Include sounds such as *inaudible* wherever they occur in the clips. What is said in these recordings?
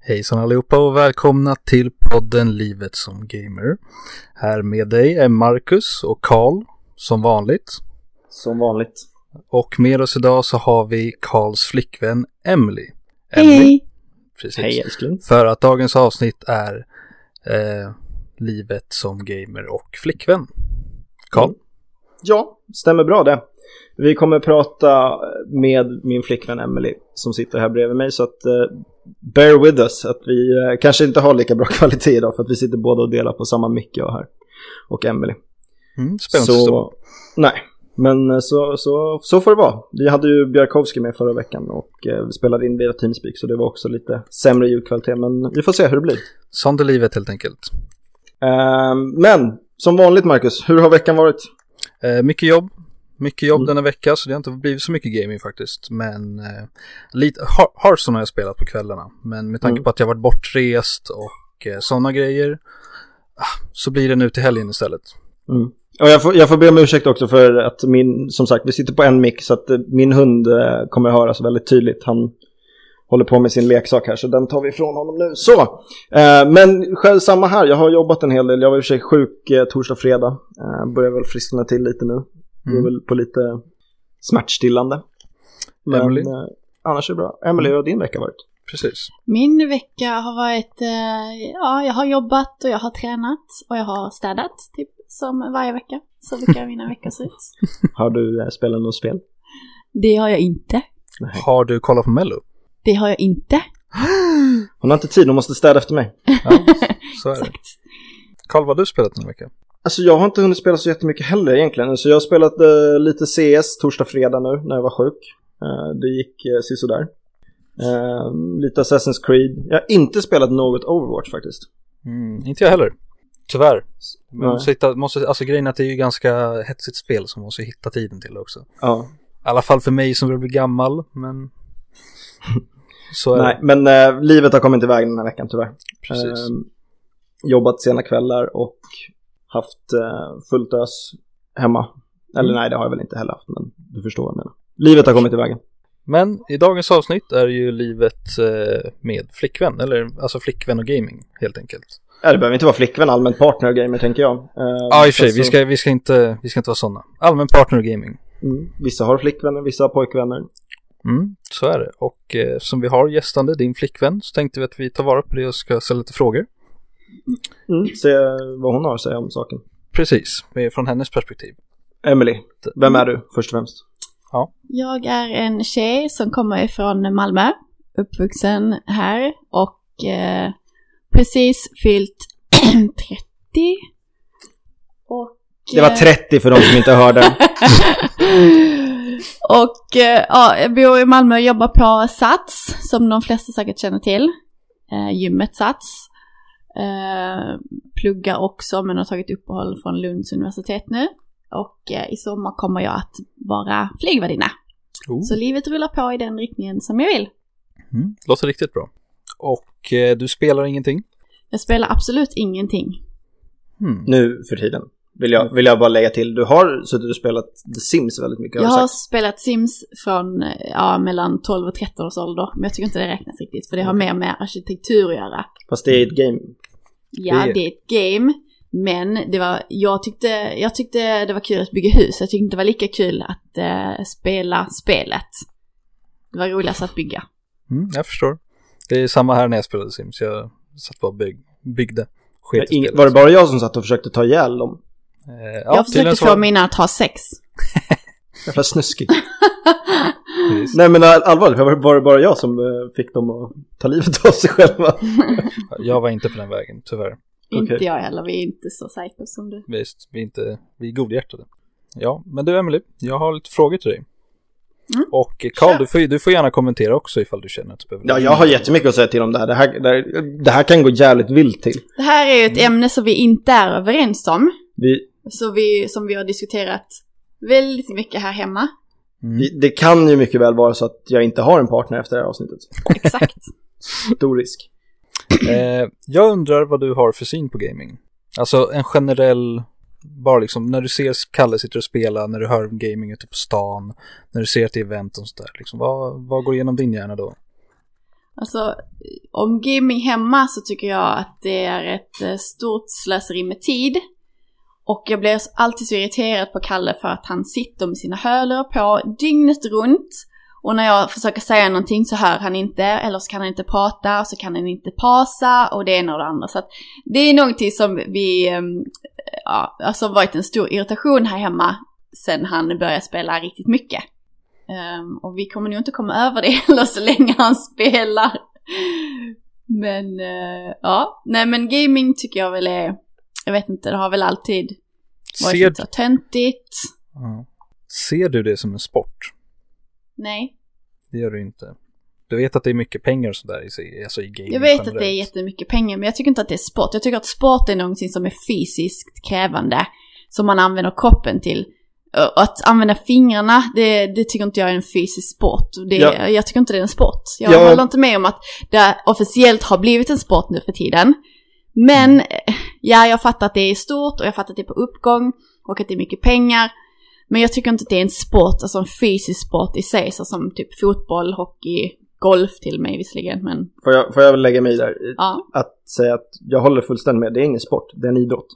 Hejsan allihopa och välkomna till podden Livet som Gamer. Här med dig är Marcus och Karl, som vanligt. Som vanligt. Och med oss idag så har vi Karls flickvän Emily. Hej, hej. Precis. Hej älskling. För att dagens avsnitt är eh, Livet som Gamer och flickvän. Karl? Ja, stämmer bra det. Vi kommer prata med min flickvän Emily som sitter här bredvid mig så att eh, bear with us att vi eh, kanske inte har lika bra *laughs* kvalitet idag för att vi sitter båda och delar på samma mick jag här och Emily. Mm, spännande historia. Så, nej, men eh, så, så, så får det vara. Vi hade ju Bjarkowski med förra veckan och eh, vi spelade in via Teamspeak så det var också lite sämre ljudkvalitet men vi får se hur det blir. Sånt är livet helt enkelt. Ehm, men som vanligt Marcus, hur har veckan varit? Eh, mycket jobb. Mycket jobb Mm. denna vecka, så det har inte blivit så mycket gaming faktiskt. Men eh, lite, Har- Hearthstone har jag spelat på kvällarna. Men med tanke Mm. på att jag varit bortrest och eh, sådana grejer, ah, så blir det nu till helgen istället. Mm. Och jag får, jag får be om ursäkt också för att min, som sagt, vi sitter på en mick så att eh, min hund eh, kommer höras väldigt tydligt. Han håller på med sin leksak här så den tar vi ifrån honom nu. Så! Eh, men själv samma här, jag har jobbat en hel del. Jag var i och för sig sjuk eh, torsdag och fredag. Eh, börjar väl friskna till lite nu. Går Mm. väl på lite smärtstillande. Men Emily? eh, annars är det bra. Emily, hur har din vecka varit? Precis. Min vecka har varit, eh, ja jag har jobbat och jag har tränat och jag har städat typ som varje vecka. Så brukar *laughs* mina veckor se ut. Har du eh, spelat något spel? Det har jag inte. Nej. Har du kollat på Mello? Det har jag inte. Hon har inte tid, hon måste städa efter mig. Ja, så är det. Exakt. Karl, vad har du spelat den här veckan? Alltså jag har inte hunnit spela så jättemycket heller egentligen. Så jag har spelat eh, lite CS torsdag, fredag nu när jag var sjuk. Eh, det gick eh, sisådär. Eh, lite Assassin's Creed. Jag har inte spelat något Overwatch faktiskt. Mm, inte jag heller. Tyvärr. Men Nej. måste hitta, måste, alltså grejen är att det är ju ganska hetsigt spel som man måste hitta tiden till också. I Ja. alla fall för mig som börjar bli gammal, *laughs* men... Så är Nej, det. men eh, livet har kommit iväg den här veckan tyvärr. Precis. Eh, jobbat sena kvällar och haft eh, fullt ös hemma. Eller Mm. nej, det har jag väl inte heller haft, men du förstår vad jag menar. Livet har kommit i vägen. Men i dagens avsnitt är ju livet eh, med flickvän, eller alltså flickvän och gaming helt enkelt. Ja, det Äh, behöver inte vara flickvän, allmänt partner och gamer tänker jag. Eh, Ja, alltså- i och för sig, så- vi ska, vi, ska inte, vi ska inte vara sådana. Allmän partner och gaming. Mm. Vissa har flickvänner, vissa har pojkvänner. Mm, så är det. Och eh, som vi har gästande, din flickvän, så tänkte vi att vi tar vara på det och ska ställa lite frågor. Mm. Se vad hon har att säga om saken. Precis, eh, från hennes perspektiv. Emily, vem är du först och främst? Jag är en tjej som kommer ifrån Malmö, uppvuxen här och eh, precis fyllt *clears throat* 30. Och, Det var eh, 30 för de som inte hörde. och eh, ja, jag bor i Malmö och jobbar på Sats, som de flesta säkert känner till. Eh, gymmet Sats. Eh, pluggar också, men har tagit uppehåll från Lunds universitet nu. Och eh, i sommar kommer jag att vara flygvärdinna. Oh. Så livet rullar på i den riktningen som jag vill. Mm, låter riktigt bra. Och eh, du spelar ingenting? Jag spelar absolut ingenting. Hmm. nu för tiden. Vill jag, vill jag bara lägga till, du har suttit och spelat The Sims väldigt mycket. Jag har du har sagt. spelat Sims från eh, ja, mellan 12 och 13 års ålder, men jag tycker inte det räknas riktigt för det har mer med arkitektur att göra. Fast det är ett game. Ja, Det- det är ett game, men det var, jag, tyckte, jag tyckte det var kul att bygga hus. Jag tyckte inte det var lika kul att eh, spela spelet. Det var roligast att bygga. Mm, jag förstår. Det är samma här när jag spelade Sims. Jag satt bara och bygg, byggde. Sket i Men ing- spelet. Var det bara jag som satt och försökte ta ihjäl dem? Eh, ja, tydligen jag försökte så få var- mina att ha sex. Jävla snuskig. Precis. Nej men all- allvarligt, var det- var det bara jag som eh, fick dem att ta livet av sig själva? Jag var inte på den vägen, tyvärr. Inte Okej. jag heller, vi är inte så säkra som du. Visst, vi är, inte, vi är godhjärtade. Ja, men du Emily, jag har lite frågor till dig. Mm. Och eh, Carl, Kör. du får, du får gärna kommentera också ifall du känner att du behöver... Ja, jag har jättemycket att säga till om det här. Det här, det här, det här kan gå jävligt vilt till. Det här är ju ett Mm. ämne som vi inte är överens om. Vi, Så vi, som vi har diskuterat väldigt mycket här hemma. Mm. vi, det kan ju mycket väl vara så att jag inte har en partner efter det här avsnittet. Exakt. Stor risk. Eh, jag undrar vad du har för syn på gaming. Alltså en generell, bara liksom när du ser Kalle sitter och spela, när du hör om gaming ute på stan, när du ser att det är event och sådär, liksom, vad, vad går igenom din hjärna då? Alltså, Om gaming hemma så tycker jag att det är ett eh, stort slöseri med tid. Och jag blir alltid så irriterad på Kalle för att han sitter med sina hörlurar på dygnet runt. Och när jag försöker säga någonting så hör han inte, eller så kan han inte prata, och så kan han inte pausa och det ena och det andra. Så att det är någonting som vi, ehm, ja, alltså varit en stor irritation här hemma sen han började spela riktigt mycket. Ehm, och vi kommer nog inte komma över det *laughs* heller så länge han spelar. Men eh, ja, nej men gaming tycker jag väl är, jag vet inte, det har väl alltid varit Ser, lite så töntigt. ja. Ser du det som en sport? Nej, Det gör du inte. Du vet att det är mycket pengar och sådär i, sig- alltså i gaming jag vet att generellt. det är jättemycket pengar men jag tycker inte att det är sport. Jag tycker att sport är någonting som är fysiskt krävande. Som man använder kroppen till. Och att använda fingrarna, det, det tycker inte jag är en fysisk sport. Det, Ja. Jag tycker inte det är en sport. Jag Ja. håller inte med om att det officiellt har blivit en sport nu för tiden. Men eh, ja, jag fattar att det är stort och jag fattar att det är på uppgång och att det är mycket pengar. Men jag tycker inte att det är en sport, alltså en fysisk sport i sig, så som typ fotboll, hockey, golf till mig visserligen, men Får jag, får jag väl lägga mig i där? ja. Att säga att jag håller fullständigt med, det är ingen sport, det är en idrott.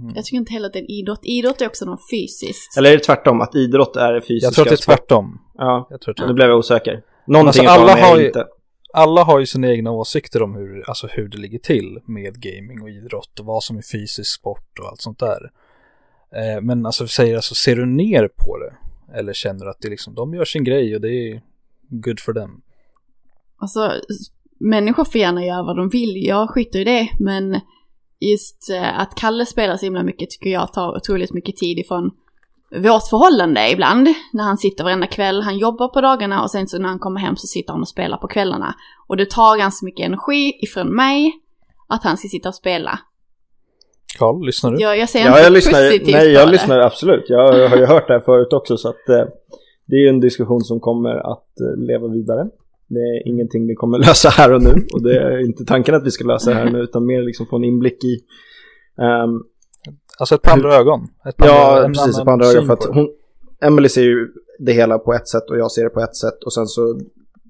Mm. Jag tycker inte heller att det är en idrott. Idrott är också något fysiskt. Eller är det tvärtom, att idrott är fysiska Jag tror att det är sport? tvärtom. Ja, Jag tror att det är nu blev jag osäker. Någonting Alltså, alla utav dem har är ju- inte. alla har ju sina egna åsikter om hur, alltså hur det ligger till med gaming och idrott och vad som är fysisk sport och allt sånt där. Eh, men alltså, vi säger, alltså, ser du ner på det? Eller känner att det liksom, de gör sin grej och det är good for them? Alltså, s- människor får gärna göra vad de vill. Jag skiter i det, men just eh, att Kalle spelar så himla mycket tycker jag tar otroligt mycket tid ifrån vårt förhållande ibland. När han sitter varenda kväll, han jobbar på dagarna och sen så när han kommer hem så sitter han och spelar på kvällarna. Och det tar ganska mycket energi ifrån mig att han ska sitta och spela. Carl, lyssnar du? Jag, jag ser Mm. Ja, inte jag lyssnar, positivt på nej, jag det. lyssnar absolut. Jag har ju hört det här förut också, så att eh, det är ju en diskussion som kommer att eh, leva vidare. Det är ingenting vi kommer *laughs* lösa här och nu och det är inte tanken att vi ska lösa det här nu utan mer liksom få en inblick i ehm, Alltså ett par andra ögon. Ett par Ja, en precis. annan På andra ögat. syn För att på det. hon, Emily ser ju det hela på ett sätt och jag ser det på ett sätt. Och sen så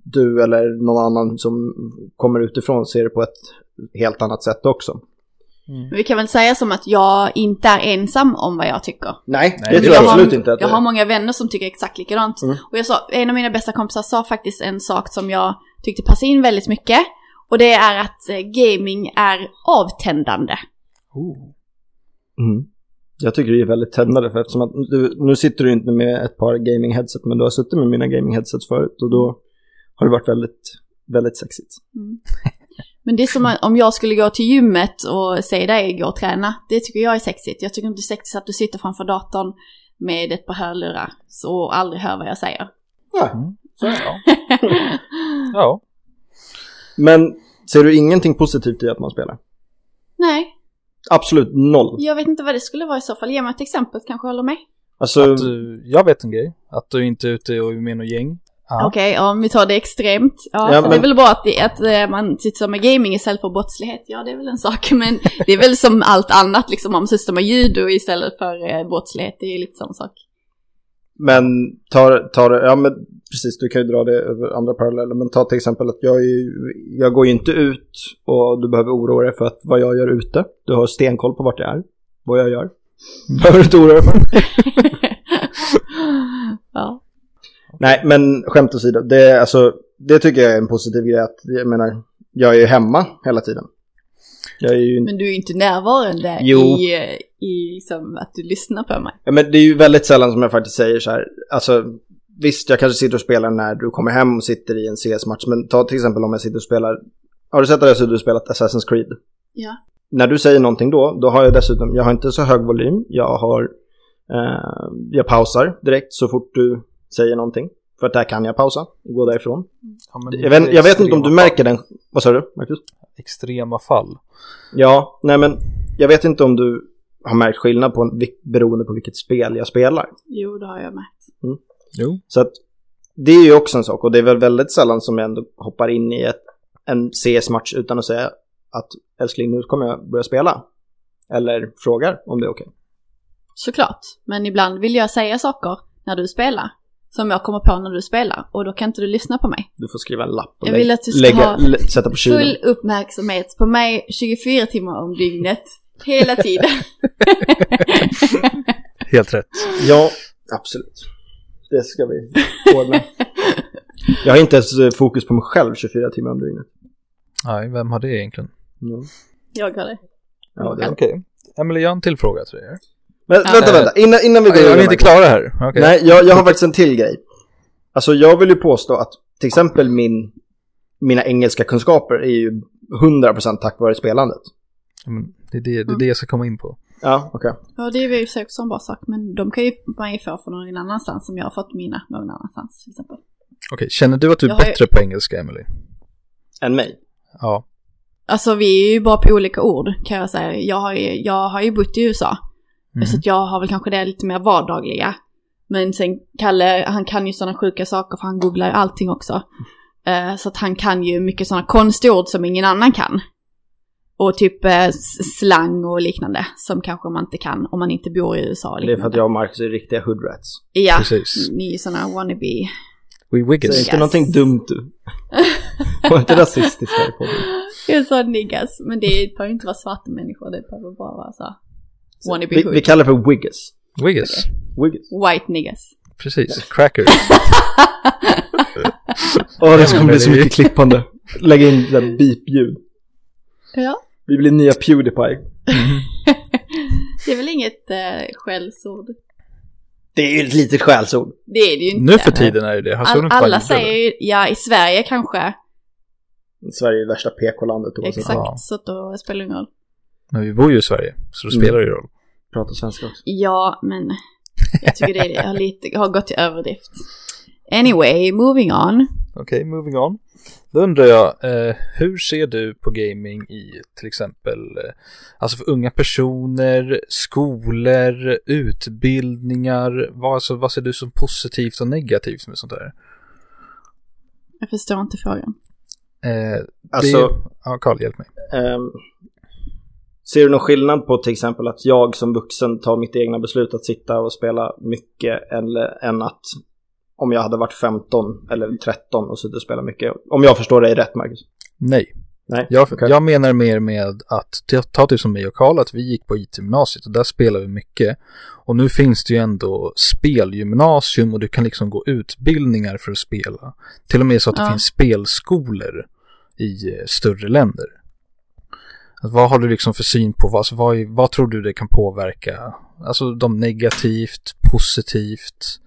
du eller någon annan som kommer utifrån ser det på ett helt annat sätt också. Mm. Mm. Men vi kan väl säga som att jag inte är ensam om vad jag tycker. Nej, Nej, det men tror jag, jag har- absolut inte att Jag det har är. många vänner som tycker exakt likadant. Mm. Och jag sa, en av mina bästa kompisar sa faktiskt en sak som jag tyckte passade in väldigt mycket. Och det är att eh, gaming är avtändande. Oh. Mm. Jag tycker det är väldigt tändande för eftersom att du, nu sitter du inte med ett par gaming headset men du har suttit med mina gaming headsets förut och då har det varit väldigt, väldigt sexigt. Men det är som om jag skulle gå till gymmet och säga dig gå och träna. Det tycker jag är sexigt. Jag tycker inte det är sexigt att du sitter framför datorn med ett par hörlurar så och aldrig hör vad jag säger. Så, *laughs* ja. ja. Men ser du ingenting positivt i att man spelar? Nej, Absolut noll. jag vet inte vad det skulle vara i så fall. Ge mig ett exempel kanske jag håller med. Alltså, Att du, jag vet en grej. Att du inte är ute och är med något gäng. Ja. Okej, om vi tar det extremt. Ja, Ja, så Det är men- väl bra att, det, att eh, man sysslar med gaming istället för brottslighet. Ja, det är väl en sak. *laughs* Men det är väl som allt annat, liksom om man sysslar med judo istället för eh, brottslighet. Det är ju lite samma sak. *laughs* Men tar, tar, ja men precis du kan ju dra det över andra paralleller. Men ta till exempel att jag, är, ju- jag går ju inte ut och du behöver oroa dig för att vad jag gör ute. Du har stenkoll på vart jag är, vad jag gör. *laughs* Behöver du inte oroa dig för. ja. Nej men skämt åsido, det, är alltså, det tycker jag är en positiv grej att jag menar, jag är ju hemma hela tiden. Jag är ju inte Men du är ju inte närvarande Jo. i, eh, i liksom, att du lyssnar på mig. Ja, men det är ju väldigt sällan som jag faktiskt säger så här, alltså visst jag kanske sitter och spelar när du kommer hem och sitter i en CS-match, men ta till exempel om jag sitter och spelar, har du sett att jag sitter och spelat Assassin's Creed? Ja. När du säger någonting då, då har jag dessutom, jag har inte så hög volym, jag har, eh, jag pausar direkt så fort du säger någonting. För att där kan jag pausa och gå därifrån. Ja, men Jag vet, jag vet inte om du extrema märker den, vad sa du Marcus? fall. Extrema fall. Ja, nej men jag vet inte om du har märkt skillnad på, vil- beroende på vilket spel jag spelar. Jo, det har jag med. Jo. Så att det är ju också en sak och det är väl väldigt sällan som jag ändå hoppar in i ett, en CS-match utan att säga att älskling nu kommer jag börja spela. Eller frågar om det är okej. Såklart. Men ibland vill jag säga saker när du spelar. Som jag kommer på när du spelar och då kan inte du lyssna på mig. Du får skriva en lapp och Jag lägg- vill att du ska lägga, ha lä- sätta på kylen. Full uppmärksamhet på mig 24 timmar om dygnet. Hela tiden. Helt rätt. Ja, absolut. Det ska vi *laughs* ordna. jag har inte ens eh, fokus på mig själv 24 timmar om dygnet. Nej, vem har det egentligen? Mm. Jag har det. Ja, det Okej. Emelie, jag har en till fråga till dig. Men Ja. vänta, vänta. Innan, innan vi går Jag är vidare. vi inte klara här. Okej. Nej, jag, jag har faktiskt en till grej. Alltså jag vill ju påstå att till exempel min, mina engelska kunskaper är ju 100% tack vare spelandet. Men Det är det, Mm. det, är det jag ska komma in på. Ja, okej. Ja, det är ju i och för sig också en bra sak. Men de kan ju man ju få från någon annanstans som jag har fått mina någon annanstans till exempel. Okej, känner du att du är Jag har ju- bättre på engelska, Emelie? Än mig. Ja. Alltså vi är ju bra på olika ord kan jag säga. Jag har ju, jag har ju bott i USA. Mm. Så att jag har väl kanske det lite mer vardagliga. Men sen Kalle, han kan ju sådana sjuka saker för han googlar ju allting också. Eh, så att han kan ju mycket sådana konstord som ingen annan kan. Och typ eh, s- slang och liknande som kanske man inte kan om man inte bor i USA. och Det är för att liknande. jag och Marcus är riktiga hoodrats. Ja, Mm. Precis. ni är ju sådana wannabe. We Säg Wiggins. inte någonting dumt *laughs* du. Var inte rasistisk här på *laughs* Jag är så niggas, men det behöver inte vara svarta människor, det behöver bara vara så. Wannabe vi, vi hood. kallar det för wiggas. Wiggins. Wiggas. White niggas. Precis. *laughs* Crackers. Åh, det kommer bli så mycket klippande. Lägga in där beep-ljud. Ja. Vi blir nya Pewdiepie. *laughs* Det är väl inget eh, skällsord? Det är ju ett litet skällsord. Det är det ju inte. nu för tiden är det det. Han såg All, nog inte alla vad han säger gjorde. ju, ja i Sverige kanske, Sverige är det värsta PK-landet oavsett. exakt, Ja. så att då spelar det ingen roll. Men vi bor ju i Sverige, så det Mm. spelar ju roll. Prata svenska också. Ja, men jag tycker det är, har, lite, har gått till överdrift. Anyway, moving on. Okej, moving on. Då undrar jag, eh, hur ser du på gaming i till exempel, eh, alltså för unga personer, skolor, utbildningar? Vad, alltså, vad ser du som positivt och negativt med sånt där? Jag förstår inte frågan. Eh, Alltså, det, ja, Carl, hjälp mig. Ehm, ser du någon skillnad på till exempel att jag som vuxen tar mitt egna beslut att sitta och spela mycket eller, än att om jag hade varit 15 eller 13 och suttit och spelat mycket? Om jag förstår dig rätt, Marcus. Nej, Nej, jag, okej. jag menar mer med att, ta- ta typ som mig och Carl, att vi gick på IT-gymnasiet och där spelade vi mycket. Och nu finns det ju ändå spelgymnasium och du kan liksom gå utbildningar för att spela. Till och med så att det Ja. finns spelskolor i eh, större länder. Att vad har du liksom för syn på, vad- alltså vad, är- vad tror du det kan påverka? Alltså de negativt, positivt.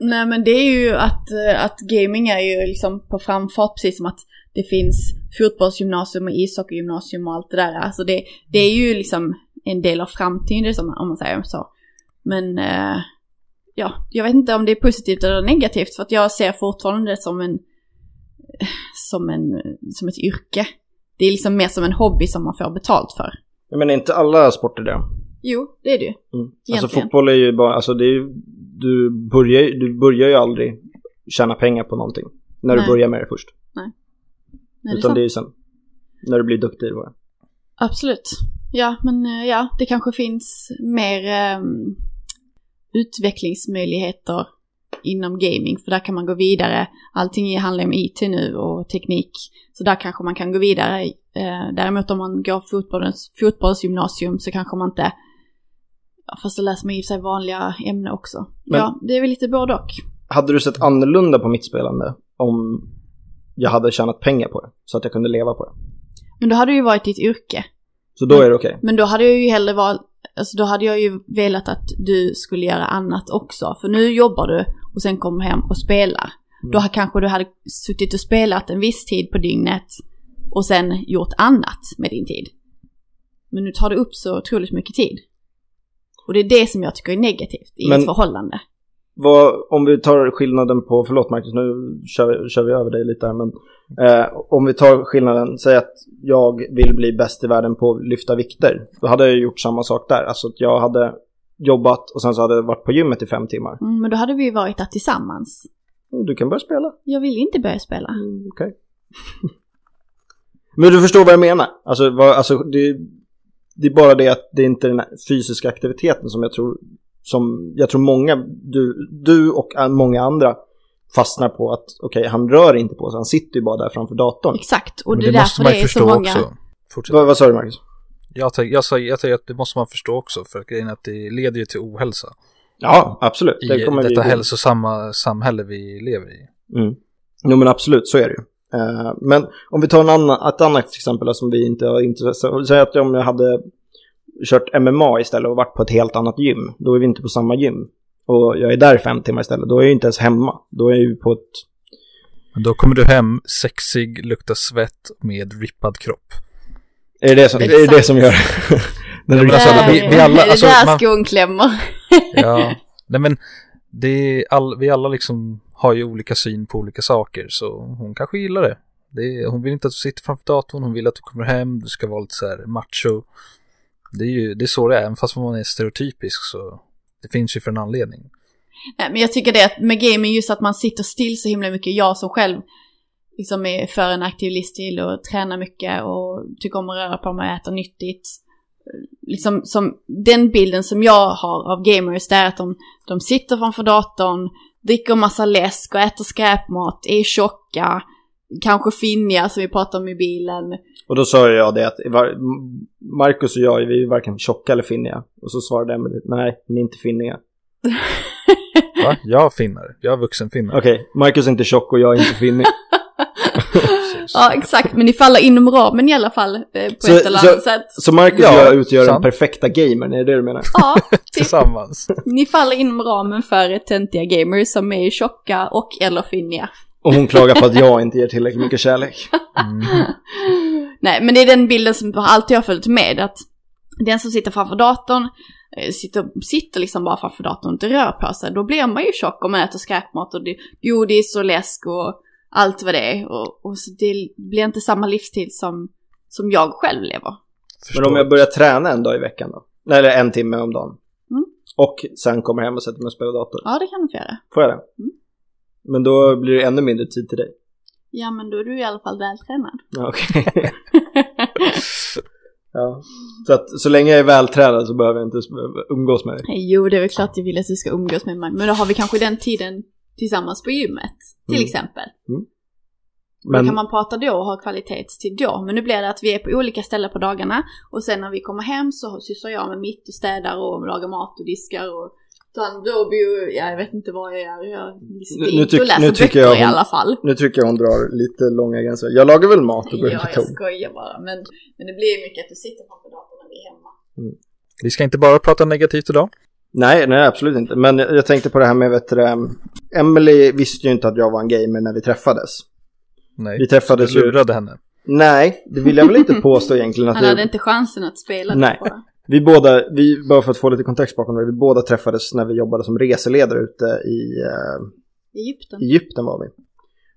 Nej men det är ju att, eh, att gaming är ju liksom på framfart precis som att det finns fotbollsgymnasium och ishockeygymnasium och allt det där. Alltså det, det är ju liksom en del av framtiden som, om man säger så. Men eh, ja, jag vet inte om det är positivt eller negativt för att jag ser fortfarande det som en *laughs* som, en, som ett yrke. Det är liksom mer som en hobby som man får betalt för. Jag menar inte alla sporter det. Jo, det är det ju. Mm. Alltså Egentligen. fotboll är ju bara, alltså det är ju, du börjar, ju- du börjar ju aldrig tjäna pengar på någonting. När Nej. du börjar med det först. Nej, det är Utan sant. det är ju sen. När du blir duktig i det. bara. Absolut. Ja, men eh, ja, det kanske finns mer ehm, utvecklingsmöjligheter inom gaming, för där kan man gå vidare. Allting handlar ju om IT nu och teknik, så där kanske man kan gå vidare. Eh, däremot om man går fotbollens, fotbollsgymnasium så kanske man inte, ja, fast då läser man i och för sig vanliga ämnen också. Men- ja, det är väl lite både och. Hade du sett annorlunda på mitt spelande om jag hade tjänat pengar på det? Så att jag kunde leva på det? Men då hade det ju varit ditt yrke. Så då är det okej. Men då hade jag ju hellre valt, alltså då hade jag ju velat att du skulle göra annat också. För nu jobbar du och sen kommer du hem och spelar. Mm. Då ha- kanske du hade suttit och spelat en viss tid på dygnet och sen gjort annat med din tid. Men nu tar det upp så otroligt mycket tid. Och det är det som jag tycker är negativt i Men- ett förhållande. Vad, om vi tar skillnaden på, förlåt Marcus, nu kör, vi- kör vi över dig lite här, men eh, om vi tar skillnaden, säg att jag vill bli bäst i världen på att lyfta vikter, då hade jag ju gjort samma sak där, alltså att jag hade jobbat och sen så hade jag varit på gymmet i fem timmar. Mm, men då hade vi ju varit där tillsammans. Du kan börja spela, Jag vill inte börja spela. Mm, okej. *laughs* men du förstår vad jag menar, alltså, vad, alltså det, det är bara det att det är inte den här fysiska aktiviteten som jag tror som jag tror många, du, du och an- många andra fastnar på att okej, han rör inte på sig, han sitter ju bara där framför datorn. Exakt, och Men det är därför det är så många. Fortsätt. Vad, vad sa du Marcus? Jag tänker jag, sa- jag tänker att det måste man förstå också, för att grejen är att det leder ju till ohälsa Ja, absolut. i det kommer vi detta gå- hälsosamma samhälle vi lever i. Mm. Jo men absolut, så är det ju. Eh, men om vi tar en annan, ett annat exempel då som vi inte har intresse av. Säg att om jag hade kört MMA istället och varit på ett helt annat gym. Då är vi inte på samma gym. Och jag är där fem timmar istället. Då är jag ju inte ens hemma. Då är jag ju på ett... Men då kommer du hem sexig, luktar svett med rippad *laughs* kropp. Är det det som, är det, det Exakt. som gör... *laughs* Den men Det alltså, är- vi- vi alla- alltså, det är där man- skon klämmer. Ja, nej men det är all, vi alla liksom har ju olika syn på olika saker så hon kanske gillar det. det är, hon vill inte att du sitter framför datorn, hon vill att du kommer hem, du ska vara lite så här macho. Det är ju det är så det är, även fast man är stereotypisk så det finns ju för en anledning. Nej, men jag tycker det att med gaming just att man sitter still så himla mycket. Jag som själv liksom är för en aktiv livsstil och tränar mycket och tycker om att röra på mig och äta nyttigt. Liksom som den bilden som jag har av gamers det är att de, de sitter framför datorn, dricker massa läsk och äter skräpmat, är tjocka, kanske finniga som vi pratade om i bilen. Och då sa jag det att var- Marcus och jag, vi är varken tjocka eller finniga. Och så svarade Emelie, nej, ni är inte finniga. Va? Jag är finnar, jag är vuxenfinnar. Okej, Marcus är inte tjock och jag är inte finnig. *laughs* Precis. Ja exakt, men ni faller inom ramen i alla fall eh, på Så- ett eller annat sätt. Så Marcus Ja, och jag utgör den sant. perfekta gamern, är det det du menar? Ja, typ. Tillsammans. Ni faller inom ramen för töntiga gamers som är tjocka och eller finniga. Och hon klagar på att jag inte ger tillräckligt mycket kärlek. *laughs* Mm. Nej, men det är den bilden som alltid har följt med. Att den som sitter framför datorn eh, sitter, sitter liksom bara framför datorn och inte rör på sig. Då blir man ju tjock om man äter skräpmat och det- godis och läsk och allt vad det är. Och, och så det blir inte samma livsstil som, som jag själv lever. Men om Förstår. jag börjar träna en dag i veckan då? Nej, Eller en timme om dagen. Mm. Och sen kommer hem och sätter mig och spelar dator. Ja, det kan du få göra. Får jag det? Mm. Men då blir det ännu mindre tid till dig. Ja, men då är du i alla fall vältränad. Ja, okej. *laughs* ja. Så att så länge jag är vältränad så behöver jag inte umgås med dig. Jo, det är väl klart jag vill att du ska umgås med mig. Men då har vi kanske den tiden tillsammans på gymmet, till Mm. exempel. Då kan Men, man prata då och ha kvalitetstid då. Men nu blir det att vi är på olika ställen på dagarna och sen när vi kommer hem så sysslar jag med mitt och städar och lagar mat och diskar och tar hand om och ja, jag vet inte vad jag gör. Jag sitter Nu- nu inte tyck- och läser nu tycker böcker jag i hon- alla fall. nu tycker jag hon drar lite långa gränser. Jag lagar väl mat och går in Ja, på jag toa. skojar bara. Men, men det blir ju mycket att du sitter framför datorn när vi är hemma. Vi ska inte bara prata negativt idag. Nej, nej absolut inte. Men jag jag tänkte på det här med, vet du, det, ehm, Emily visste ju inte att jag var en gamer när vi träffades. Nej, Vi du träffades ju... lurade henne. Nej, det vill jag väl *laughs* inte påstå egentligen att Han hade vi... inte chansen att spela Nej. det bara. Vi båda, vi, bara för att få lite kontext bakom det, vi båda träffades när vi jobbade som reseledare ute i eh, Egypten. Egypten var vi.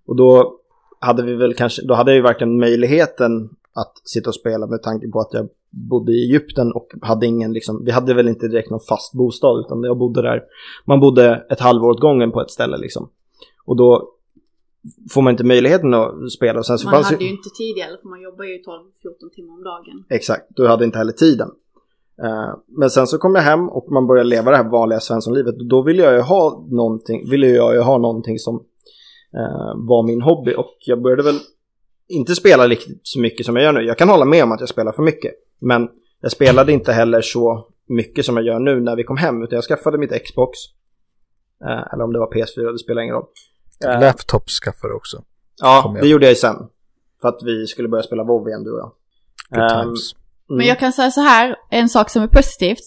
Och då hade vi väl kanske, då hade jag ju verkligen möjligheten att sitta och spela med tanke på att jag bodde i Egypten och hade ingen liksom, vi hade väl inte direkt någon fast bostad utan jag bodde där, man bodde ett halvår åt gången på ett ställe liksom. Och då får man inte möjligheten att spela och sen Alltså, så Man fanns hade ju inte tid i alla fall, man jobbar ju 12-14 timmar om dagen. Exakt, du hade inte heller tiden. Eh, Men sen så kom jag hem och man började leva det här vanliga svenssonlivet. Då ville jag ju ha någonting, ville jag ju ha någonting som eh, var min hobby. Och jag började väl inte spela riktigt så mycket som jag gör nu. Jag kan hålla med om att jag spelar för mycket. Men jag spelade inte heller så mycket som jag gör nu när vi kom hem. Utan jag skaffade mitt Xbox. Eh, Eller om det var PS4, det spelar ingen roll. Eh, Laptop skaffade också. Ja, kom det igen. gjorde jag ju sen. För att vi skulle börja spela WoW igen, du och jag. Good Ehm, times. Men mm. jag kan säga så här, en sak som är positivt.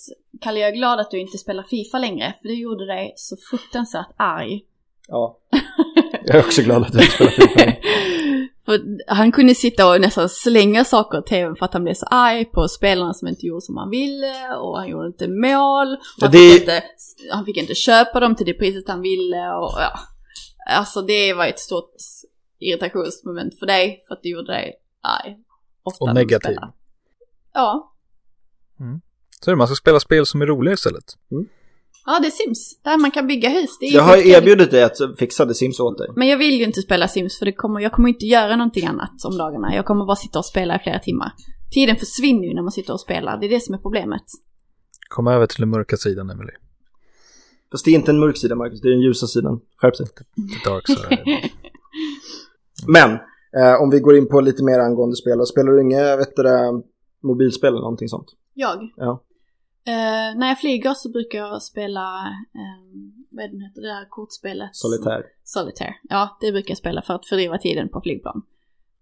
Kalle, jag är glad att du inte spelar Fifa längre, för det gjorde dig så fruktansvärt arg. Ja. *laughs* Jag är också glad att du spelar Fifa. *laughs* för han kunde sitta och nästan slänga saker åt tvn för att han blev så arg på spelarna som inte gjorde som han ville och han gjorde inte mål. Och han, Det- fick inte, han fick inte köpa dem till det priset han ville och ja. Alltså det var ett stort irritationsmoment för dig för att det gjorde dig arg. Ofta Och när du negativ. spelar. Ja. Så är det, man ska spela spel som är roliga istället. Ja, det är Sims. Där man kan bygga hus. Det är *laughs* ju Jag har skitkul. erbjudit dig att fixa The Sims åt dig. Men jag vill ju inte spela Sims för det kommer, jag kommer inte göra någonting annat om dagarna. Jag kommer bara sitta och spela i flera timmar. Tiden försvinner ju när man sitter och spelar. Det är det som är problemet. Kom över till den mörka sidan, Emily. Fast det är inte en mörk sida, Marcus. Det är den ljusa sidan. Skärp sig. The Dark Side. Men, eh, om vi går in på lite mer angående spel. Spelar du inga, vet du det, mobilspel eller någonting sånt? Jag? Ja. Eh, när jag flyger så brukar jag spela, um, vad är det nu heter, det där kortspelet? Solitär. Solitaire. Ja, det brukar jag spela för att fördriva tiden på flygplan.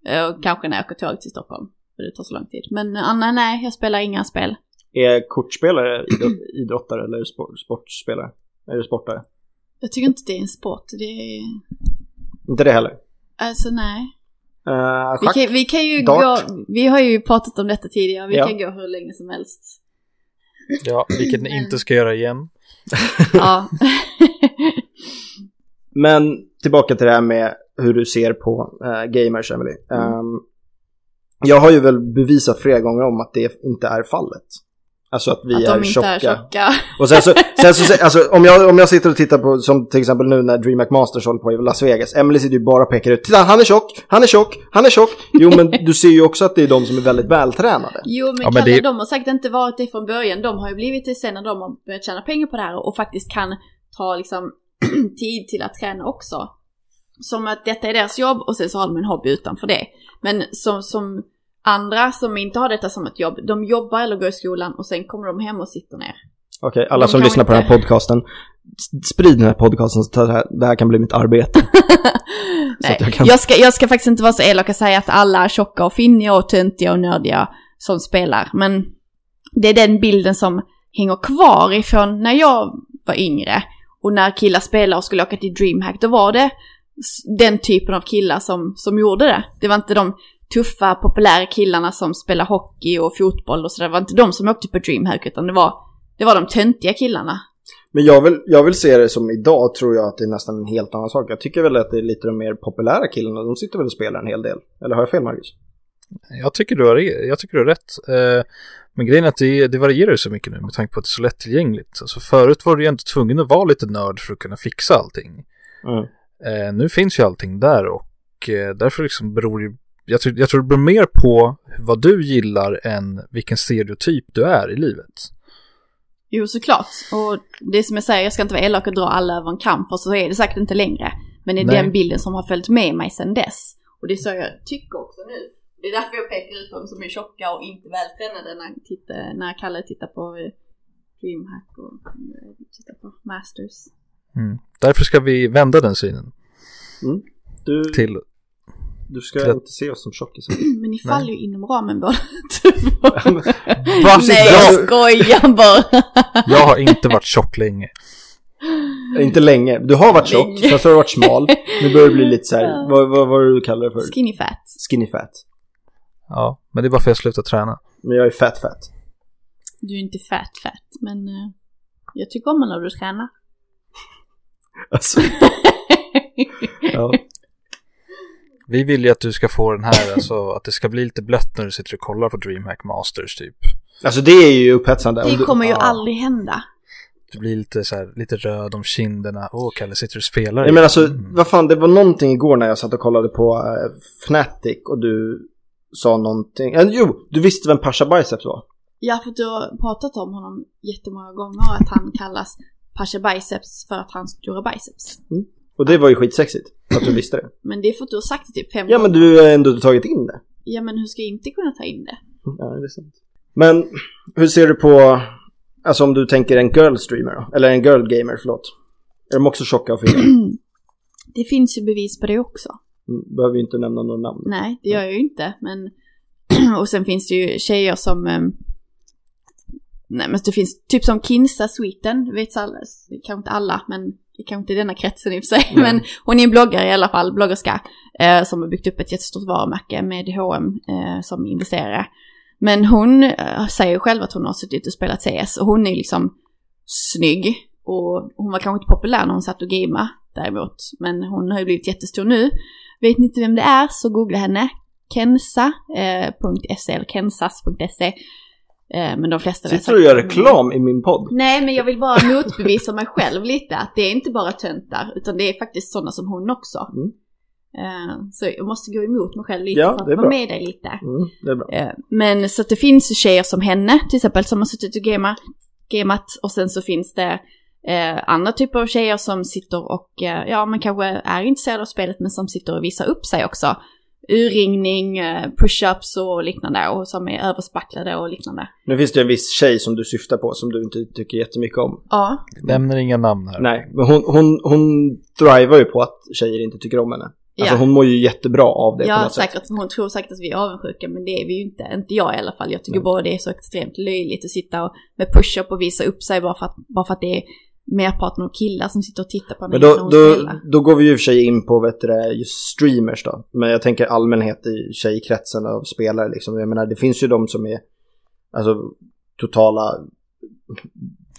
Eh, Och kanske när jag åker tåg till Stockholm, för det tar så lång tid. Men eh, Anna, nej, jag spelar inga spel. Är kortspelare idrott- idrottare eller sport, sportspelare? Är du sportare? Jag tycker inte det är en sport, det är... Inte det heller. Alltså nej. Eh, Vi schack? kan, vi kan ju Dart. gå, vi har ju pratat om detta tidigare, vi Ja. kan gå hur länge som *laughs* helst. *laughs* Ja, vilket ni inte ska göra igen. Ja. Men tillbaka till det här med hur du ser på eh, gamers, Emily. Mm. Ehm, jag har ju väl bevisat flera gånger om att det inte är fallet. Alltså att vi att är, de inte tjocka. är tjocka. Och sen så, sen så alltså, om, jag, om jag sitter och tittar på, som till exempel nu när DreamHack Masters håller på i Las Vegas, Emily sitter ju bara och pekar ut, titta han är tjock, han är tjock, han är tjock. Jo men du ser ju också att det är de som är väldigt vältränade. Jo men, Ja, men Kalle, det- de har säkert inte varit det från början. De har ju blivit det sen när de har börjat tjäna pengar på det här och faktiskt kan ta liksom *clears throat* tid till att träna också. Som att detta är deras jobb och sen så har de en hobby utanför det. Men som, som andra som inte har detta som ett jobb, de jobbar eller går i skolan och sen kommer de hem och sitter ner. Okej, alla De som kan lyssnar på den här inte. podcasten, s- sprid den här podcasten så att det här, det här kan bli mitt arbete. Nej, jag jag, kan- ska, jag ska faktiskt inte vara så elak och säga att alla är tjocka och finniga och töntiga och nördiga som spelar. Men det är den bilden som hänger kvar ifrån när jag var yngre. Och när killar spelade och skulle åka till DreamHack, då var det s- den typen av killar som, som gjorde det. Det var inte de tuffa, populära killarna som spelar hockey och fotboll och sådär. Det var inte de som åkte på DreamHack, utan det var, det var de töntiga killarna. Men jag vill, jag vill se det som idag tror jag att det är nästan en helt annan sak. Jag tycker väl att det är lite de mer populära killarna, de sitter väl och spelar en hel del. Eller har jag fel Marcus? Jag tycker du har, re- jag tycker du har rätt. Eh, Men grejen är att det, det varierar ju så mycket nu med tanke på att det är så lättillgängligt. Alltså förut var du ju ändå tvungen att vara lite nörd för att kunna fixa allting. Mm. Eh, nu finns ju allting där och eh, därför liksom beror det jag tror, jag tror det beror mer på vad du gillar än vilken stereotyp du är i livet. Jo, såklart. Och det som jag säger, jag ska inte vara elak och dra alla över en kamp, för så är det säkert inte längre. Men det är Nej. den bilden som har följt med mig sedan dess. Och det är så jag tycker också nu. Det är därför jag pekar ut dem som är tjocka och inte vältränade när, jag tittar, när Kalle tittar på eh, DreamHack och eh, tittar på Masters. *clears throat* Därför ska vi vända den synen Du, till... du ska till att- inte se oss som tjockisar. Men ni Nej. faller ju inom ramen båda två. *laughs* Va? *laughs* Nej, jag skojar *laughs* bara. Jag har inte varit tjock länge. Eh, Inte länge. Du har varit tjock, Länge. sen så har du varit smal. Nu börjar du bli lite så här, vad, vad, vad du kallar det för? Skinny fat. Skinny fat. Ja, men det är bara för att jag slutade träna. Men jag är fat fat. *laughs* Du är inte fat fat, men eh, jag tycker om när du tränar. Alltså, ja. Vi vill ju att du ska få den här, alltså att det ska bli lite blött när du sitter och kollar på DreamHack Masters typ. alltså det är ju upphetsande. Om Det du- kommer ju ja. aldrig hända. Du blir lite så här, lite röd om kinderna. Åh, Kalle, sitter du och spelar? Nej men alltså, Mm. vad fan, det var någonting igår när jag satt och kollade på eh, Fnatic och du sa någonting. Eh, jo, du visste vem Pasha Biceps var? Ja, för du har pratat om honom jättemånga gånger att han kallas Pasha Biceps för att han stora biceps. Och det var ju skitsexigt, att du visste det. Men det är för att du har sagt det typ fem Ja men gånger. du har ändå tagit in det. Ja, men hur ska jag inte kunna ta in det? Ja, det är sant. Men hur ser du på, alltså om du tänker en girl streamer då? Eller en girl gamer, förlåt. Är de också tjocka och fina? Det finns ju bevis på det också. Mm, Behöver ju inte nämna några namn. Nej, det gör jag ju inte, men... *clears throat* Och sen finns det ju tjejer som... ehm, Nej, men det finns typ som Kinsa Sweeten, vet alla, kanske inte alla, men kanske inte i denna kretsen i och för sig. *laughs* Nej. Men hon är en bloggare i alla fall, bloggerska, eh, som har byggt upp ett jättestort varumärke med H&M eh, som investerare. Men hon eh, säger ju själv att hon har suttit och spelat CS och hon är liksom snygg. Och hon var kanske inte populär när hon satt och gamea däremot. Men hon har ju blivit jättestor nu. Vet ni inte vem det är så googla henne. eh, Kensa.se E, eller kensas.se. E. Eh, men de flesta vet Sitter du och gör säkert vem hon är. reklam i min podd? Nej, men jag vill bara motbevisa mig själv lite. Att det är inte bara töntar, utan det är faktiskt sådana som hon också. Mm. Eh, Så jag måste gå emot mig själv lite Ja, för det är att vara bra. med dig lite. Mm, det är bra. Eh, Men så att det finns tjejer som henne, till exempel, som har suttit och gamer, gamat. Och sen så finns det eh, andra typer av tjejer som sitter och, eh, ja man kanske är intresserad av spelet men som sitter och visar upp sig också. Urringning, eh, push-ups och liknande och som är överspacklade och liknande. Nu finns det ju en viss tjej som du syftar på som du inte tycker jättemycket om. Ja, Nämner inga namn här. Nej, men hon, hon, hon driver ju på att tjejer inte tycker om henne. Alltså Ja. hon mår ju jättebra av det på ja något sätt. säkert, hon tror säkert att vi är avundsjuka men det är vi ju inte, inte jag i alla fall. Jag tycker Nej. bara det är så extremt löjligt att sitta och, med push-up och visa upp sig bara för att, bara för att det är merparten av killar som sitter och tittar på henne Men när då, hon då, spelar. då går vi ju i och för sig in på vet du, det, just streamers då. Men jag tänker allmänhet i tjejkretsen av spelare liksom. Jag menar det finns ju de som är alltså totala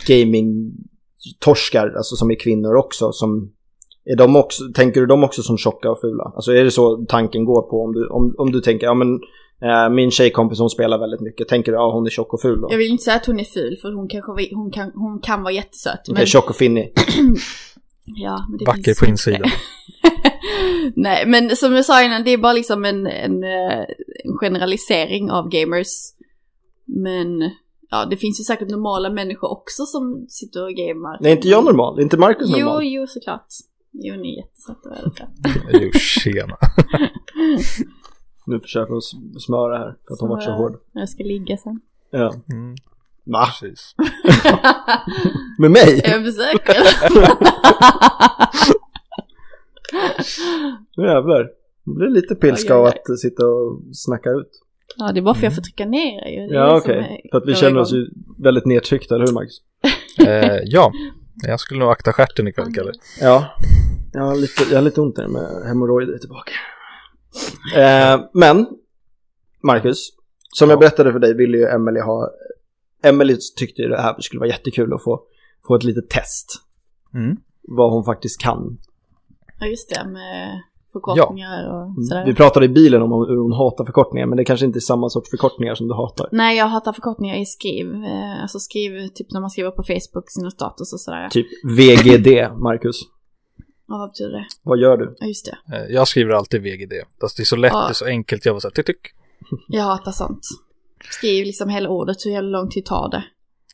gaming-torskar, alltså som är kvinnor också. Som, är de också tänker du dem också som tjocka och fula? Alltså är det så tanken går på om du, om, om du tänker, ja men eh, min tjejkompis hon spelar väldigt mycket, tänker du ja hon är tjock och ful då? Jag vill inte säga att hon är ful för hon, kanske, var- hon, kan, hon kan vara jättesöt. Okej, tjock och finnig. ja, men det Vacker finns- på insidan. *laughs* Nej, men som jag sa innan, det är bara liksom en, en, eh, en generalisering av gamers. Men ja, det finns ju säkert normala människor också som sitter och gamar. Nej, inte jag normal, inte Marcus Jo, normal. jo, såklart. Jo, ni är jättesöta och väldigt bra. jo, tjena. Nu försöker hon s- smöra här för att hon varit så Smöra. hård. Jag ska ligga sen. Ja. Mm, Va? precis. Med *laughs* mig? *laughs* jag försöker. Nu jävlar. Jag blir lite pilsk Oj, oj, av oj. att sitta och snacka ut. Ja, det är bara för jag får trycka ner er ju. Det är liksom Ja det som okej. är- För att vi går känner oss igång. ju väldigt nedtryckta, eller hur Marcus? Eh, ja, jag skulle nog akta stjärten ikväll, Kalle. Ja. Jag har lite, jag har lite ont där med hemorrojder tillbaka. Eh, men, Marcus. Som jag Ja. berättade för dig ville ju Emily ha... Emily tyckte ju det här skulle vara jättekul att få, få ett litet test. Mm. Vad hon faktiskt kan. Ja, just det, med förkortningar och sådär. Vi pratade i bilen om hur hon hatar förkortningar, men det kanske inte är samma sorts förkortningar som du hatar. Nej, jag hatar förkortningar i skriv. Eh, Alltså skriv, typ när man skriver på Facebook sina status och sådär. Typ VGD, Marcus. Ja, vad betyder det? Vad gör du? Ja, just det. Eh, jag skriver alltid VGD. Fast det är så lätt, Ja. det är så enkelt. Jag var så här, tyck, tyck. Jag hatar sånt. Skriv liksom hela ordet, hur jävla lång tid tar det?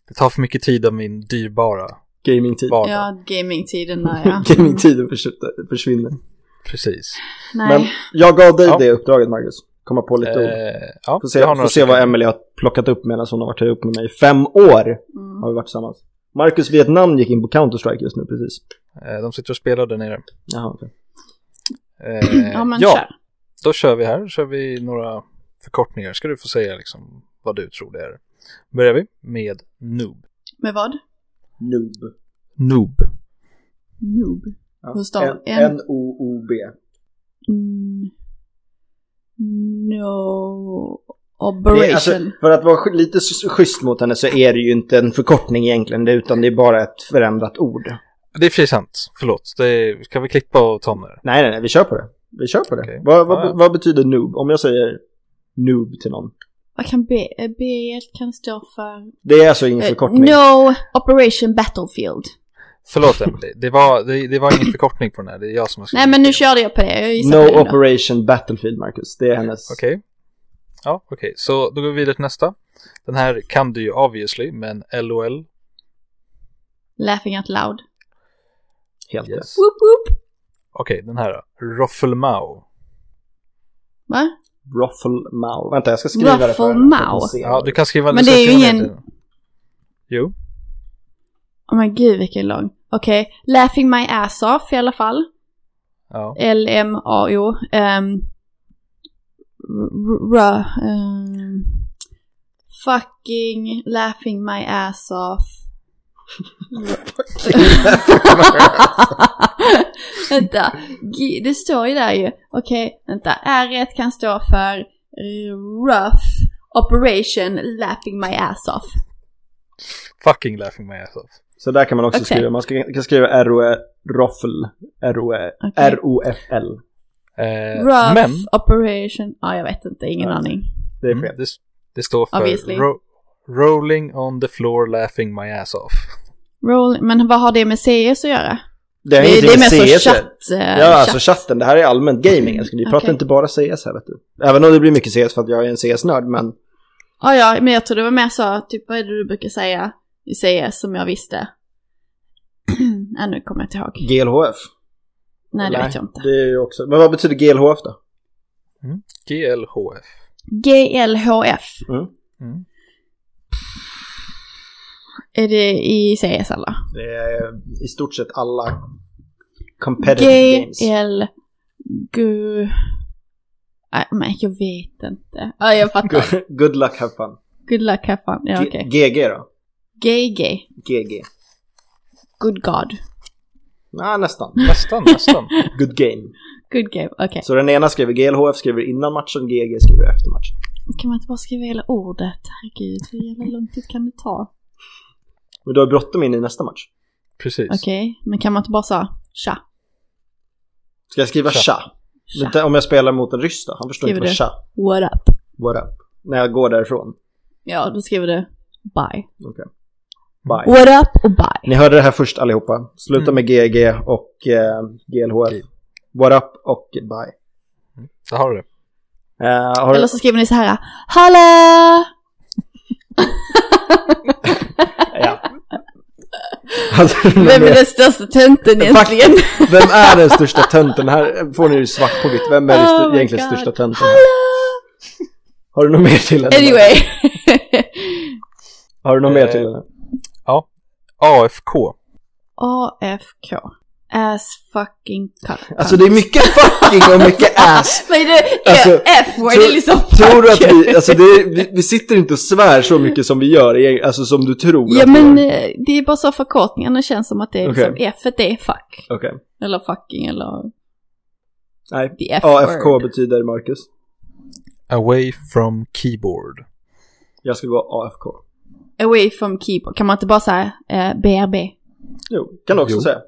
Det tar för mycket tid av min dyrbara Gamingtid. vardag. Ja, gamingtiderna ja. Mm, Gamingtiden förs- försvinner. Precis. Nej, Men jag gav dig Ja. det uppdraget, Marcus. Komma på lite ord. Eh, ja, Får se, jag har får några se vad stycken. Emily har plockat upp medan hon har varit här uppe med mig. i Fem år mm. har vi varit tillsammans. Marcus Vietnam gick in på Counter-Strike just nu precis. Eh, de sitter och spelar där nere. Jaha, okej. Eh, *clears throat* Ja, men ja, kör. då kör vi här. kör vi några förkortningar. Ska du få säga liksom vad du tror det är. Börjar vi med noob. Med vad? Noob. Noob. Noob. Ja. Hur stav- N- en- N-O-O-B. Mm. No... Det Operation. är, alltså, för att vara sch- lite s- schysst mot henne så är det ju inte en förkortning egentligen, det- utan det är bara ett förändrat ord. Det är för sig sant. Förlåt. Det är, kan vi klippa och ta med det? Nej, nej, nej, vi kör på det. Vi kör på det. Okej. Vad, vad, Ja, ja. vad betyder noob? Om jag säger noob till någon. Vad kan B... eh, B kan stå för... Det är alltså ingen Eh, förkortning. no Operation Battlefield. Förlåt Emily. Det var, det, det var ingen förkortning på den här. Det är jag som har skrivit Nej, men nu fel. körde jag på det. Jag gissar på No det ändå. Operation Battlefield, Marcus. Det är hennes... Okej. Ja, okej. Så då går vi vidare till nästa. Den här kan du ju obviously, men LOL. Laughing out loud. Helt rätt. Yes. Woop woop. Okej, den här då. Roffelmau. Va? Ruffle Mao. Vänta, jag ska skriva det för Ruffle henne, för att Mao. hon ser. Ja, du kan skriva... Men du det ska är ju skriva ingen- ner det. Jo. Oh men gud vilken lång. Okej. Laughing my ass off i alla fall. Ja. L-M-A-O. Um, r- um, fucking laughing my ass off. *laughs* vänta, G- det står ju där ju. Okej, vänta. r kan stå för eh, rough operation laughing my ass off. Fucking laughing my ass off. Så där kan man också Okej. skriva. Man ska, kan skriva R-O-E, Ruffle. R-O-E, Okej. R-O-F-L. Eh, rough men... operation, ja jag vet inte, ingen Ja. aning. Det är Mm, fel. det, det står för Obviously. ro- rolling on the floor laughing my ass off. Roll, men vad har det med CS att göra? Det är, Det, det ingenting är med mer CS. så chatt... eh, Ja, alltså chatt. Mm. chatten. Det här är allmänt gaming. älskling. Vi pratar Okej. inte bara CS här, vet du. Även om det blir mycket CS för att jag är en CS-nörd, men Ja, *clears throat* ja, men jag tror det var mer så, typ vad är det du brukar säga i CS som jag visste? Nej, nu kommer jag inte ihåg. GLHF? Nej, det vet jag inte. Det är ju också... Men vad betyder GLHF då? GLHF. GLHF. Mm. Är det i CS alla? Det är i stort sett alla competitive games. GL... Gu... Nej, men jag vet inte. Ja, jag fattar. Good- *laughs* Good luck have fun. Good luck, have fun. Ja, G- okej. GG då? GG. GG. Good God. Nej, nästan. Nästan, nästan. *laughs* Good game. Good game. Okej. Så den ena skriver GLHF skriver innan matchen, GG skriver efter matchen. Kan man inte bara skriva hela ordet? Herregud, hur jävla lång tid kan det ta? Men du har bråttom in i nästa match. Precis. Okej, men kan man inte bara säga tja? Ska jag skriva Tja. tja? tja. Vänta, Om jag spelar mot en ryss då? Han förstår Skriver inte vad tja. What up? What up? När jag går därifrån. Ja, då skriver du bye. Bye. What up och bye. Ni hörde det här först allihopa. Sluta Mm. med GG och eh, GLHF. What up och bye. Där har du det. Eh, har Eller så skriver ni så här, hallå! *laughs* ja. Alltså, *laughs* Vem är den största tönten Fuck. egentligen? Vem är den största tönten? Här får ni ju svart på vitt. Vem är den Oh st- my egentligen God. största tönten? Hallå! Har du något mer till henne? Anyway. *laughs* Har du något mer till henne? AFK. AFK. Ass fucking cunt. *laughs* Alltså det är mycket fucking och mycket ass. Men det är Alltså, F-word, tror- det är liksom Tror du att fuck. vi, alltså det är, vi, vi sitter inte och svär så mycket som vi gör, egent- alltså som du tror Ja att vi men gör. eh, det är bara så förkortningarna känns som att det är liksom Okej. F, det är fuck. Okej. Eller fucking eller Nej. the F AFK word. betyder, Marcus, Away from keyboard. jag ska gå AFK. Away from keyboard. Kan man inte bara säga eh, BRB? Jo, kan du också Jo. säga.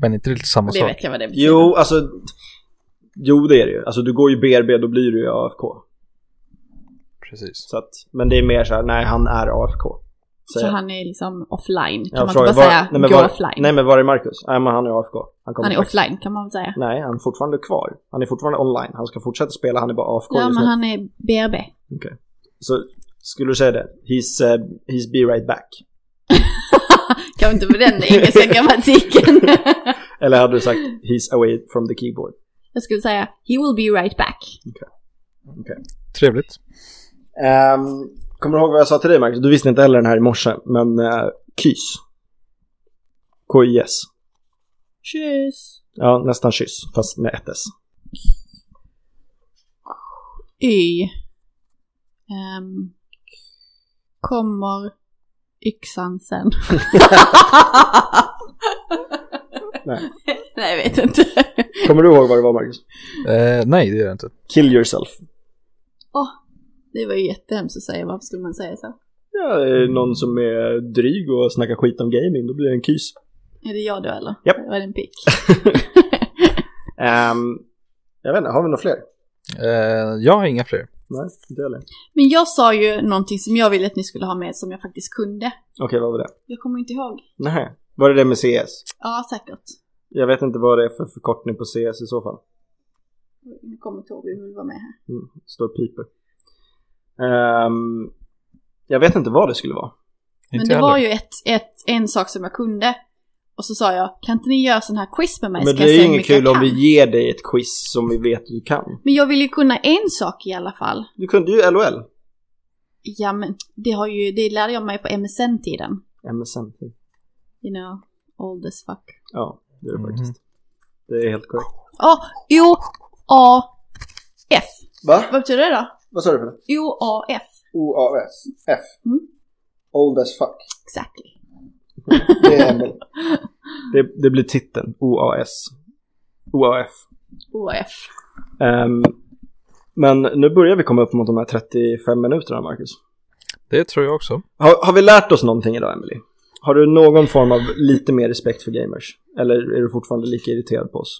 Men inte riktigt samma Det sak. vet jag vad det betyder. Jo, alltså, jo det är det ju. Alltså du går ju BRB, då blir du ju AFK. Precis. Så att, men det är mer så här, nej han är AFK. så Säger- han är liksom offline. Kan Jag man frågar, inte bara var- säga nej, men gå var, offline? Nej men var är Marcus? Nej men han är AFK. Han, kommer han är faktiskt- offline kan man väl säga. Nej, han är fortfarande kvar. Han är fortfarande online. Han ska fortsätta spela, han är bara AFK Ja just men nu. han är BRB. Så skulle du säga det? He's, eh, he's be right back. Kan inte med den engelska *laughs* grammatiken. *laughs* Eller hade du sagt he's away from the keyboard? jag skulle säga he will be right back. Trevligt. Ehm, kommer du ihåg vad jag sa till dig Marcus? Du visste inte heller den här i morse, men uh, KYS. KYS. Tjus. Ja, nästan kyss, fast med ett S. Y. Ehm, kommer yxan sen. *laughs* Nej. Nej, jag vet inte. Kommer du ihåg vad det var Marcus? Eh, nej, det gör jag inte. Kill yourself. Det var ju jättehemskt att säga. Varför skulle man säga så? Ja, är det någon som är dryg och snackar skit om gaming, då blir det en KYS. Är det jag då eller? Japp. Var det en pick? *laughs* Ehm, jag vet inte, har vi några fler? Eh, jag har inga fler. Nej, inte heller. Men jag sa ju någonting som jag ville att ni skulle ha med som jag faktiskt kunde. Okej, vad var det? Jag kommer inte ihåg. Nej. Var det det med CS? Ja, säkert. Jag vet inte vad det är för förkortning på CS i så fall. Nu kommer Torbjörn vill vara med här. Mm, står piper. Ehm, jag vet inte vad det skulle vara. Men inte det heller. var ju ett, ett, en sak som jag kunde. Och så sa jag, kan inte ni göra sån här quiz med mig? Men så det kan jag är ju se hur inget mycket jag kul om kan." vi ger dig ett quiz som vi vet du kan. Men jag vill ju kunna en sak i alla fall. Du kunde ju LOL. Ja, men det, har ju, det lärde jag mig på MSN-tiden. MSN. You know, old as fuck. Ja, det är det Mhm. faktiskt. Det är helt korrekt. O-A-F. Va? Vad betyder det då? Vad sa du för det? O-A-F. OAS. F. Mm. Old as fuck. Exactly. Det, är Emil. *laughs* det, det blir titeln. OAS. OAF. O-A-F. Ehm, men nu börjar vi komma upp mot de här 35 minuterna, Marcus. Det tror jag också. Har, har vi lärt oss någonting idag, Emily? Har du någon form av lite mer respekt för gamers? Eller är du fortfarande lika irriterad på oss?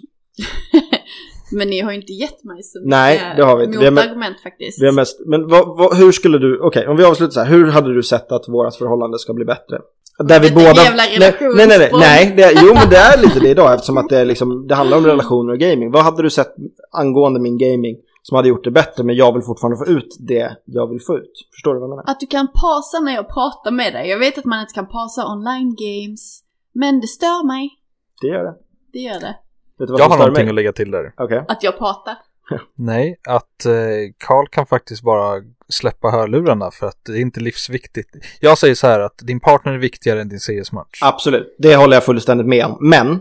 Men ni har ju inte gett mig så mycket Nej, det har vi inte. Vi har med- motargument faktiskt. Vi har mest, men vad, vad, hur skulle du, okej, om vi avslutar så här, hur hade du sett att vårt förhållande ska bli bättre? Där vi Det är båda... jävla nej, nej, nej, nej, relationsbråk. nej det, jo men det är lite det idag eftersom att det, är liksom, det handlar om relationer och gaming. Vad hade du sett angående min gaming som hade gjort det bättre men jag vill fortfarande få ut det jag vill få ut? Förstår du vad jag menar? Att du kan pausa när jag pratar med dig. Jag vet att man inte kan pausa online games. Men det stör mig. Det gör det. Det gör det. Vet du vad Jag som har stör någonting mig? att lägga till där. Okej. Att jag pratar. Nej, att eh, Carl kan faktiskt bara släppa hörlurarna för att det är inte livsviktigt. Jag säger så här att din partner är viktigare än din CS-match. Absolut, det håller jag fullständigt med om. Men,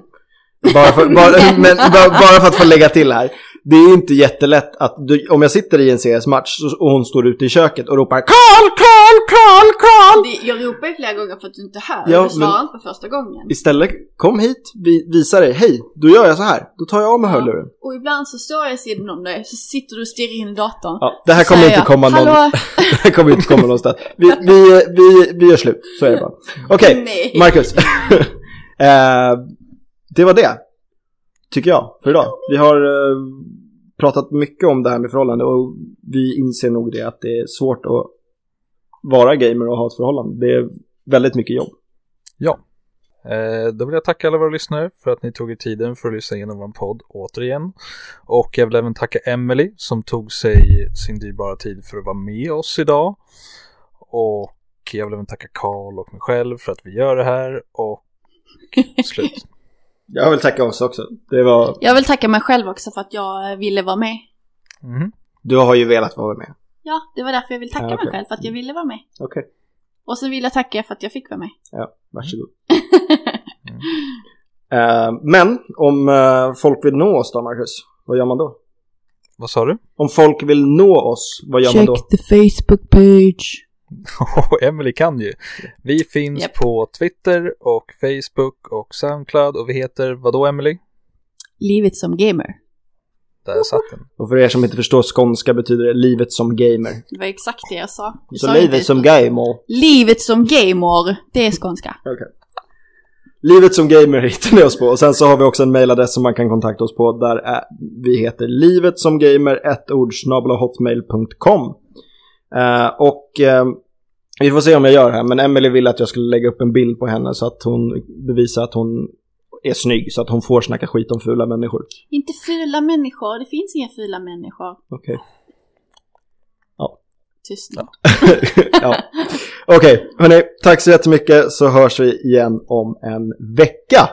bara för, *laughs* bara, men, bara, bara för att få lägga till här. Det är inte jättelätt att du, om jag sitter i en CS-match så- och hon står ute i köket och ropar Karl, Karl, Karl, Karl! Det, jag ropar ju flera gånger för att du inte hör. Ja, du svarar men- inte på första gången. Istället, kom hit, vi, visa dig, hej, då gör jag så här, då tar jag av mig hörluren. Och ibland så står jag i sidan om dig, så sitter du och stirrar in i datorn. Ja, det här kommer Säger inte jag, komma någon, Hallå? *laughs* det här kommer inte komma någonstans. Vi, vi, vi, vi gör slut, så är *laughs* det bara. Okej, Nej. Marcus. *laughs* eh, det var det. Tycker jag, för idag. Vi har eh, pratat mycket om det här med förhållande och vi inser nog det att det är svårt att vara gamer och ha ett förhållande. Det är väldigt mycket jobb. Ja. Eh, Då vill jag tacka alla våra lyssnare för att ni tog er tiden för att lyssna igenom vår podd återigen. Och jag vill även tacka Emily som tog sig sin dyrbara tid för att vara med oss idag. Och jag vill även tacka Carl och mig själv för att vi gör det här. Och slut. Jag vill tacka oss också. Det var, Jag vill tacka mig själv också för att jag eh, ville vara med. Mhm. du har ju velat vara med. Ja, det var därför jag ville tacka Ja, okej. mig själv, för att jag ville vara med. Okej, Och sen vill jag tacka er för att jag fick vara med. *laughs* varsågod. Eh, men om eh, folk vill nå oss då, Marcus, vad gör man då? Vad sa du? Om folk vill nå oss, vad gör man då? the Facebook page. *laughs* Och Emily kan ju. Vi finns Japp. på Twitter och Facebook och Soundcloud och vi heter vadå Emily? Livet som gamer. Där satt den. Och för er som inte förstår skånska betyder det livet som gamer. Det var exakt det jag sa. Jag Så sa inte- livet som gamer. Livet som gamer, det är skånska. Livet som gamer *laughs* hittar ni oss på. Och sen så har vi också en mailadress som man kan kontakta oss på. Där är, vi heter livet som gamer, ett ord, snabel-a hotmail.com. Eh, och eh, vi får se om jag gör det här. Men Emily ville att jag skulle lägga upp en bild på henne så att hon bevisar att hon är snygg. Så att hon får snacka skit om fula människor. Inte fula människor, det finns inga fula människor. Okej. Tystnad. *laughs* ja. Okej, hörni. Tack så jättemycket så hörs vi igen om en vecka.